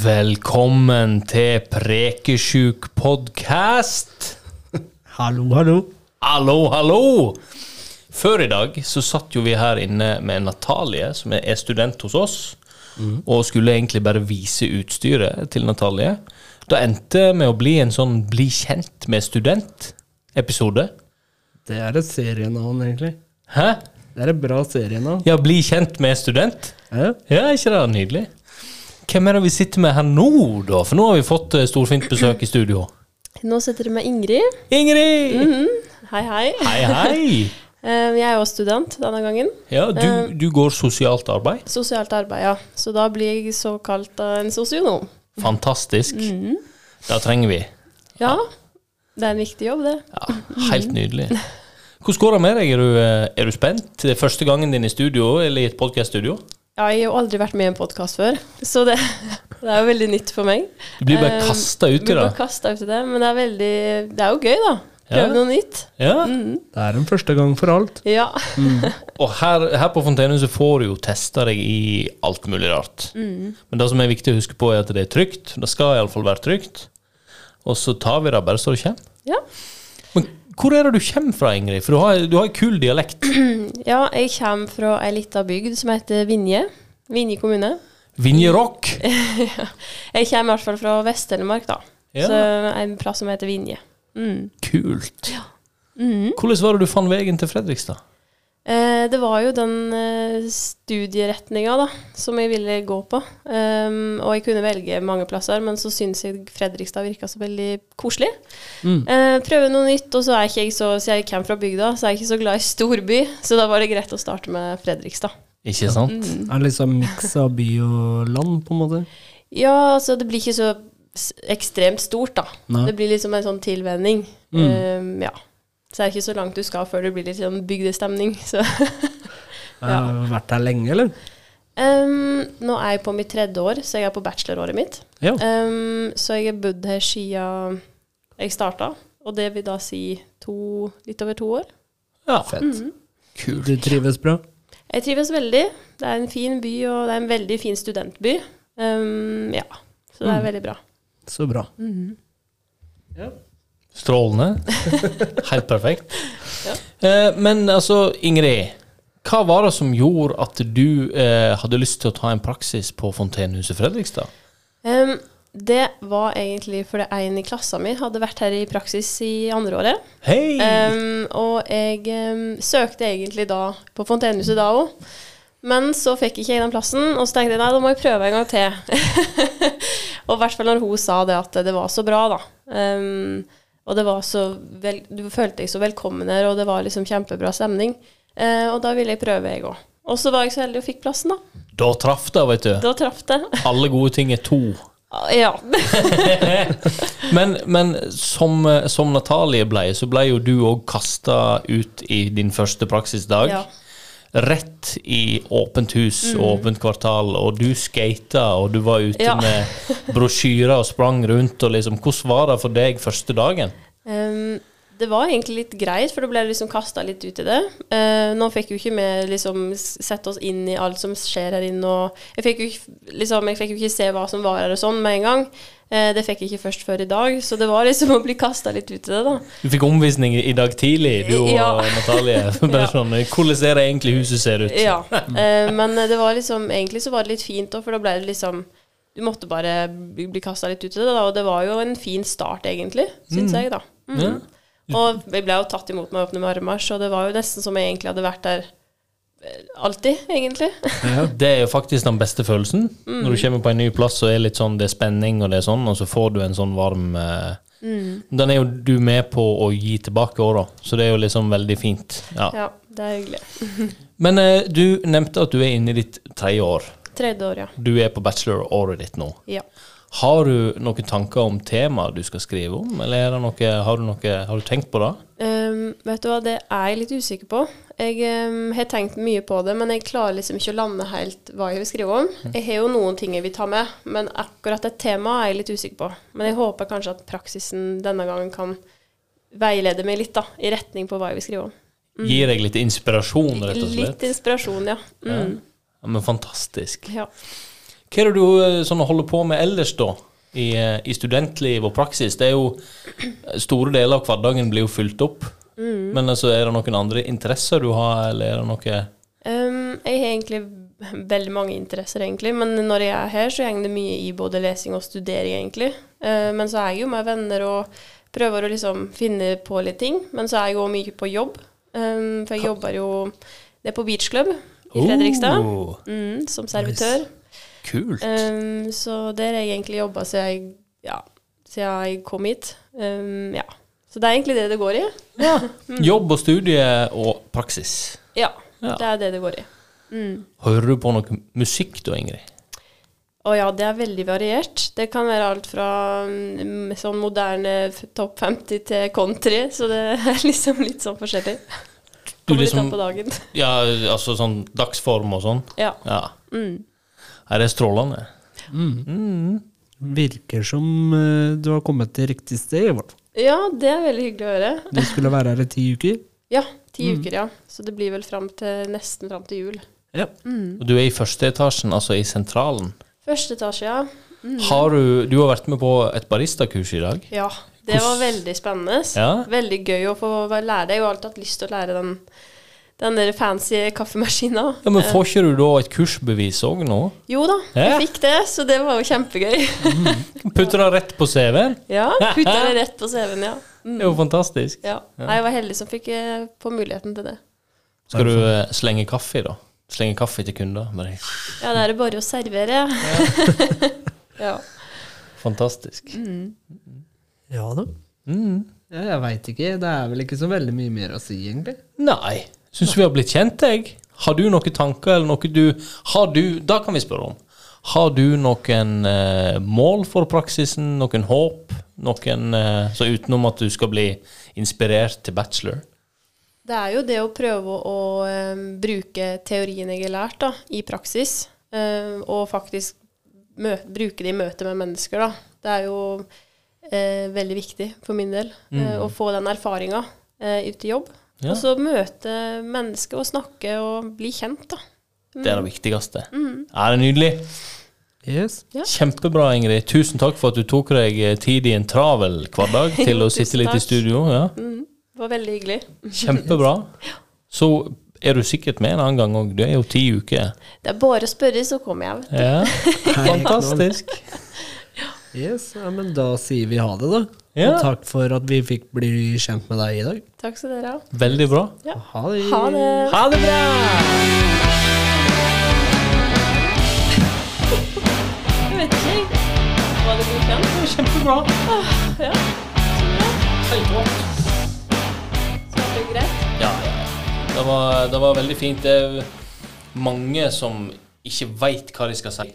Velkommen til Prekesjuk podkast. Hallo, hallo. Hallo, hallo! Før i dag så satt jo vi her inne med Natalie, som er student hos oss, og skulle egentlig bare vise utstyret til Natalie. Da endte med å bli en sånn Bli kjent med student-episode. Det er et serienavn, egentlig. Hæ? Det er et bra serienavn. Ja, Bli kjent med student? Ja. Ja, er ikke det nydelig? Hvem er det vi sitter med her nå, da? For nå har vi fått eh, storfint besøk i studio. Nå sitter det med Ingrid. Ingrid! Hei, hei. Hei, hei! Eh, Jeg er jo student denne gangen. Ja, du, du går sosialt arbeid. Sosialt arbeid, ja. Så da blir jeg såkalt eh, en sosionom. Fantastisk. Det trenger vi. Ja. Det er en viktig jobb, det. Ja, helt nydelig. Hvordan går det med deg? Er du, eh, er du spent? Det er første gangen din i studio, eller i et podkaststudio? Ja, jeg har jo aldri vært med i en podkast før, så det, det er jo veldig nytt for meg. Du blir bare kastet ut i det. det. Blir bare kastet ut i det, Men det er veldig Det er jo gøy, da. Prøve Ja. noe nytt. Ja. Det er en første gang for alt. Ja. Mm. Og her, her på Fontenehuset får du jo testa deg i alt mulig rart. Men det som er viktig å huske på, er at det er trygt. Det skal iallfall være trygt. Og så tar vi det bare så det kommer. ja. Men hvor er det du kommer fra, Ingrid? For du har, du har en kul dialekt. Ja, jeg kommer fra ei lita bygd som heter Vinje. Vinje kommune. Vinjerock. Jeg kommer i hvert fall fra Vest-Telemark, da. Ja. Så en plass som heter Vinje. Mm. Kult. Hvordan var det du fant veien til Fredrikstad? Eh, det var jo den eh, studieretninga da, som jeg ville gå på. Ehm, og jeg kunne velge mange plasser, men så syns jeg Fredrikstad virka så veldig koselig. Eh, prøve noe nytt, og så er ikke jeg så, så jeg kommer fra bygda, så er jeg ikke så glad i storby. Så da var det greit å starte med Fredrikstad. Ikke sant? Mm. Det er liksom miks av by og land, på en måte. Ja, altså det blir ikke så s- ekstremt stort, da. Nei. Det blir liksom en sånn tilvenning. Ehm, ja. Så er det ikke så langt du skal før det blir litt sånn bygdestemning. Så. Jeg har vært her lenge, eller? Ehm, nå er jeg på mitt tredje år, så jeg er på bacheloråret mitt. Ja. Ehm, så jeg har bodd her siden jeg starta, og det vil da si to, litt over to år. Ja. Fett. Kult. Du trives bra? Jeg trives veldig. Det er en fin by, og det er en veldig fin studentby. Ehm, ja, så det er veldig bra. Så bra. Strålende. Helt perfekt. Eh, Men altså, Ingrid. Hva var det som gjorde at du eh, hadde lyst til å ta en praksis på Fontenehuset Fredrikstad? Ehm, det var egentlig fordi en i klassa mi hadde vært her i praksis i andre året. Hei! Ehm, og jeg ehm, søkte egentlig da på Fontenehuset da òg. Men så fikk ikke jeg den plassen, og så tenkte jeg nei, da må jeg prøve en gang til. og i hvert fall når hun sa det at det var så bra, da. Ehm, og det var så vel, du følte deg så velkommen her, og det var liksom kjempebra stemning. Eh, og da ville jeg prøve, jeg òg. Og så var jeg så heldig og fikk plassen, da. Da traff det, vet du. Da traff det. Alle gode ting er to. ja. Men, men som, eh, som Natalie ble, så ble jo du òg kasta ut i din første praksisdag. ja. rett i åpent hus og åpent kvartal, og du skata, og du var ute Mm. Ja. med brosjyrer og sprang rundt, og liksom Hvordan var det for deg første dagen? Ehm, det var egentlig litt greit, for da ble jeg liksom kasta litt ut i det. Eh, nå fikk jo ikke vi liksom s- sette oss inn i alt som skjer her inne, og jeg fikk jo ikke, liksom, jeg fikk jo ikke se hva som var her og sånn med en gang. Eh, det fikk jeg ikke først før i dag, så det var liksom å bli kasta litt ut i det, da. Du fikk omvisning i dag tidlig, du og Ja. Natalie. Bare Ja. sånn, Hvordan er det egentlig huset ser ut? Ja. Eh, men det var liksom Egentlig så var det litt fint òg, for da ble det liksom Du måtte bare bli, bli kasta litt ut i det, da, og det var jo en fin start, egentlig, syns jeg, da. Mm. Ja. Og jeg ble jo tatt imot med åpne armer, så det var jo nesten som jeg egentlig hadde vært der eh, alltid, egentlig. Det er jo faktisk den beste følelsen. Mm. Når du kommer på en ny plass og er litt sånn, det er spenning, og det er sånn, og så får du en sånn varm eh, Mm. Den er jo du med på å gi tilbake òg, da. Så det er jo liksom veldig fint. Ja. Ja, det er hyggelig. Men eh, du nevnte at du er inne i ditt tredje år. Tredje år, ja. Du er på bacheloråret ditt nå. ja. Har du noen tanker om temaet du skal skrive om, eller er det noe, har, du noe, har du tenkt på det? Ehm, vet du hva, det er jeg litt usikker på. Jeg ehm, har tenkt mye på det, men jeg klarer liksom ikke å lande helt hva jeg vil skrive om. Mm. Jeg har jo noen ting jeg vil ta med, men akkurat det temaet er jeg litt usikker på. Men jeg håper kanskje at praksisen denne gangen kan veilede meg litt da, i retning på hva jeg vil skrive om. Gir deg litt inspirasjon, rett og slett? Litt inspirasjon, ja. Mm, Ja, men fantastisk. ja. Hva er det du eh, sånn, holder på med ellers, da? I, eh, I studentliv og praksis? Det er jo eh, Store deler av hverdagen blir jo fylt opp. Men altså, er det noen andre interesser du har, eller er det noe Ehm, jeg har egentlig veldig mange interesser, egentlig. Men når jeg er her, så henger det mye i både lesing og studering, egentlig. Eh, men så er jeg jo med venner og prøver å liksom finne på litt ting. Men så er jeg òg mye på jobb. Ehm, for jeg jobber jo Det er på Beach Club i Fredrikstad. Oh, Mm, som servitør. kult. Ehm, så der har jeg egentlig jobba siden, jeg- ja, siden jeg kom hit. Ehm, ja. Så det er egentlig det det går i. Jobb og studie og praksis. Ja, Ja. det er det det går i. Hører du på noe musikk da, Ingrid? Å ja, det er veldig variert. Det kan være alt fra mm, sånn moderne f- topp 50 til country, så det er liksom litt sånn forskjellig. Du Kommer litt liksom- an på dagen. Ja, altså sånn dagsform og sånn? Ja. Ja. Mm. Er det strålende? Virker som eh, du har kommet til riktig sted, i hvert fall. ja, det er veldig hyggelig å høre. Du skulle være her i ti uker. Ja, ti Mm. uker, ja. Så det blir vel fram til, nesten fram til jul. Ja. Og Du er i første etasjen, altså i sentralen. Første etasje, ja. Har du, du har vært med på et baristakurs i dag. Ja, det var veldig spennende. Ja. Veldig gøy å få være lærer. Jeg har alltid hatt lyst til å lære den, den der fancy kaffemaskina. Ja, Men får ikke du da et kursbevis òg nå? Jo da, Ja. jeg fikk det, så det var jo kjempegøy. Putter det rett på CV-en? Ja, putta det rett på CV-en, ja. Det er jo fantastisk. Mm. Ja. Nei, jeg var heldig som fikk eh, få muligheten til det. Skal du eh, slenge kaffe, da? Slenge kaffe til kunder? Bare, Ja, det er det bare å servere. ja. fantastisk. Ja da. Ja, jeg veit ikke. Det er vel ikke så veldig mye mer å si, egentlig. Nei. Syns vi har blitt kjent, jeg. Har du noen tanker, eller noe du Har du Da kan vi spørre om. Har du noen eh, mål for praksisen? Noen håp? Noen eh, Så utenom at du skal bli inspirert til bachelor? Det er jo det å prøve å eh, bruke teorien jeg har lært, da, i praksis. eh, og faktisk mø bruke det i møte med mennesker, da. Det er jo eh, veldig viktig for min del eh, å få den erfaringa eh, ut i jobb. Ja. Og så møte mennesker og snakke og bli kjent, da. Det Mm. er det viktigste. Er det nydelig? Yes. Ja. Kjempebra, Ingrid. Tusen takk for at du tok deg eh, tid i en travel hverdag til Jo, å sitte tusen litt i takk. Mm. studio. Ja. Det var veldig hyggelig. Kjempebra. Så er du sikkert med en annen gang òg. Det er jo ti uker. Det er bare å spørre, så kommer jeg. vet du. Ja. Fantastisk. Yes, ja, men Da sier vi ha det, da. Ja. Og takk for at vi fikk bli kjent med deg i dag. Takk skal dere ha. Veldig bra. Ja. Ha det. Ha det. Ha det bra! Jeg vet ikke. jeg. Var det godkjent? Kjempebra. Ja. Så bra. Helt rått. Svarte greit. Ja, ja. Det var, det var veldig fint. Det er mange som ikke veit hva de skal si.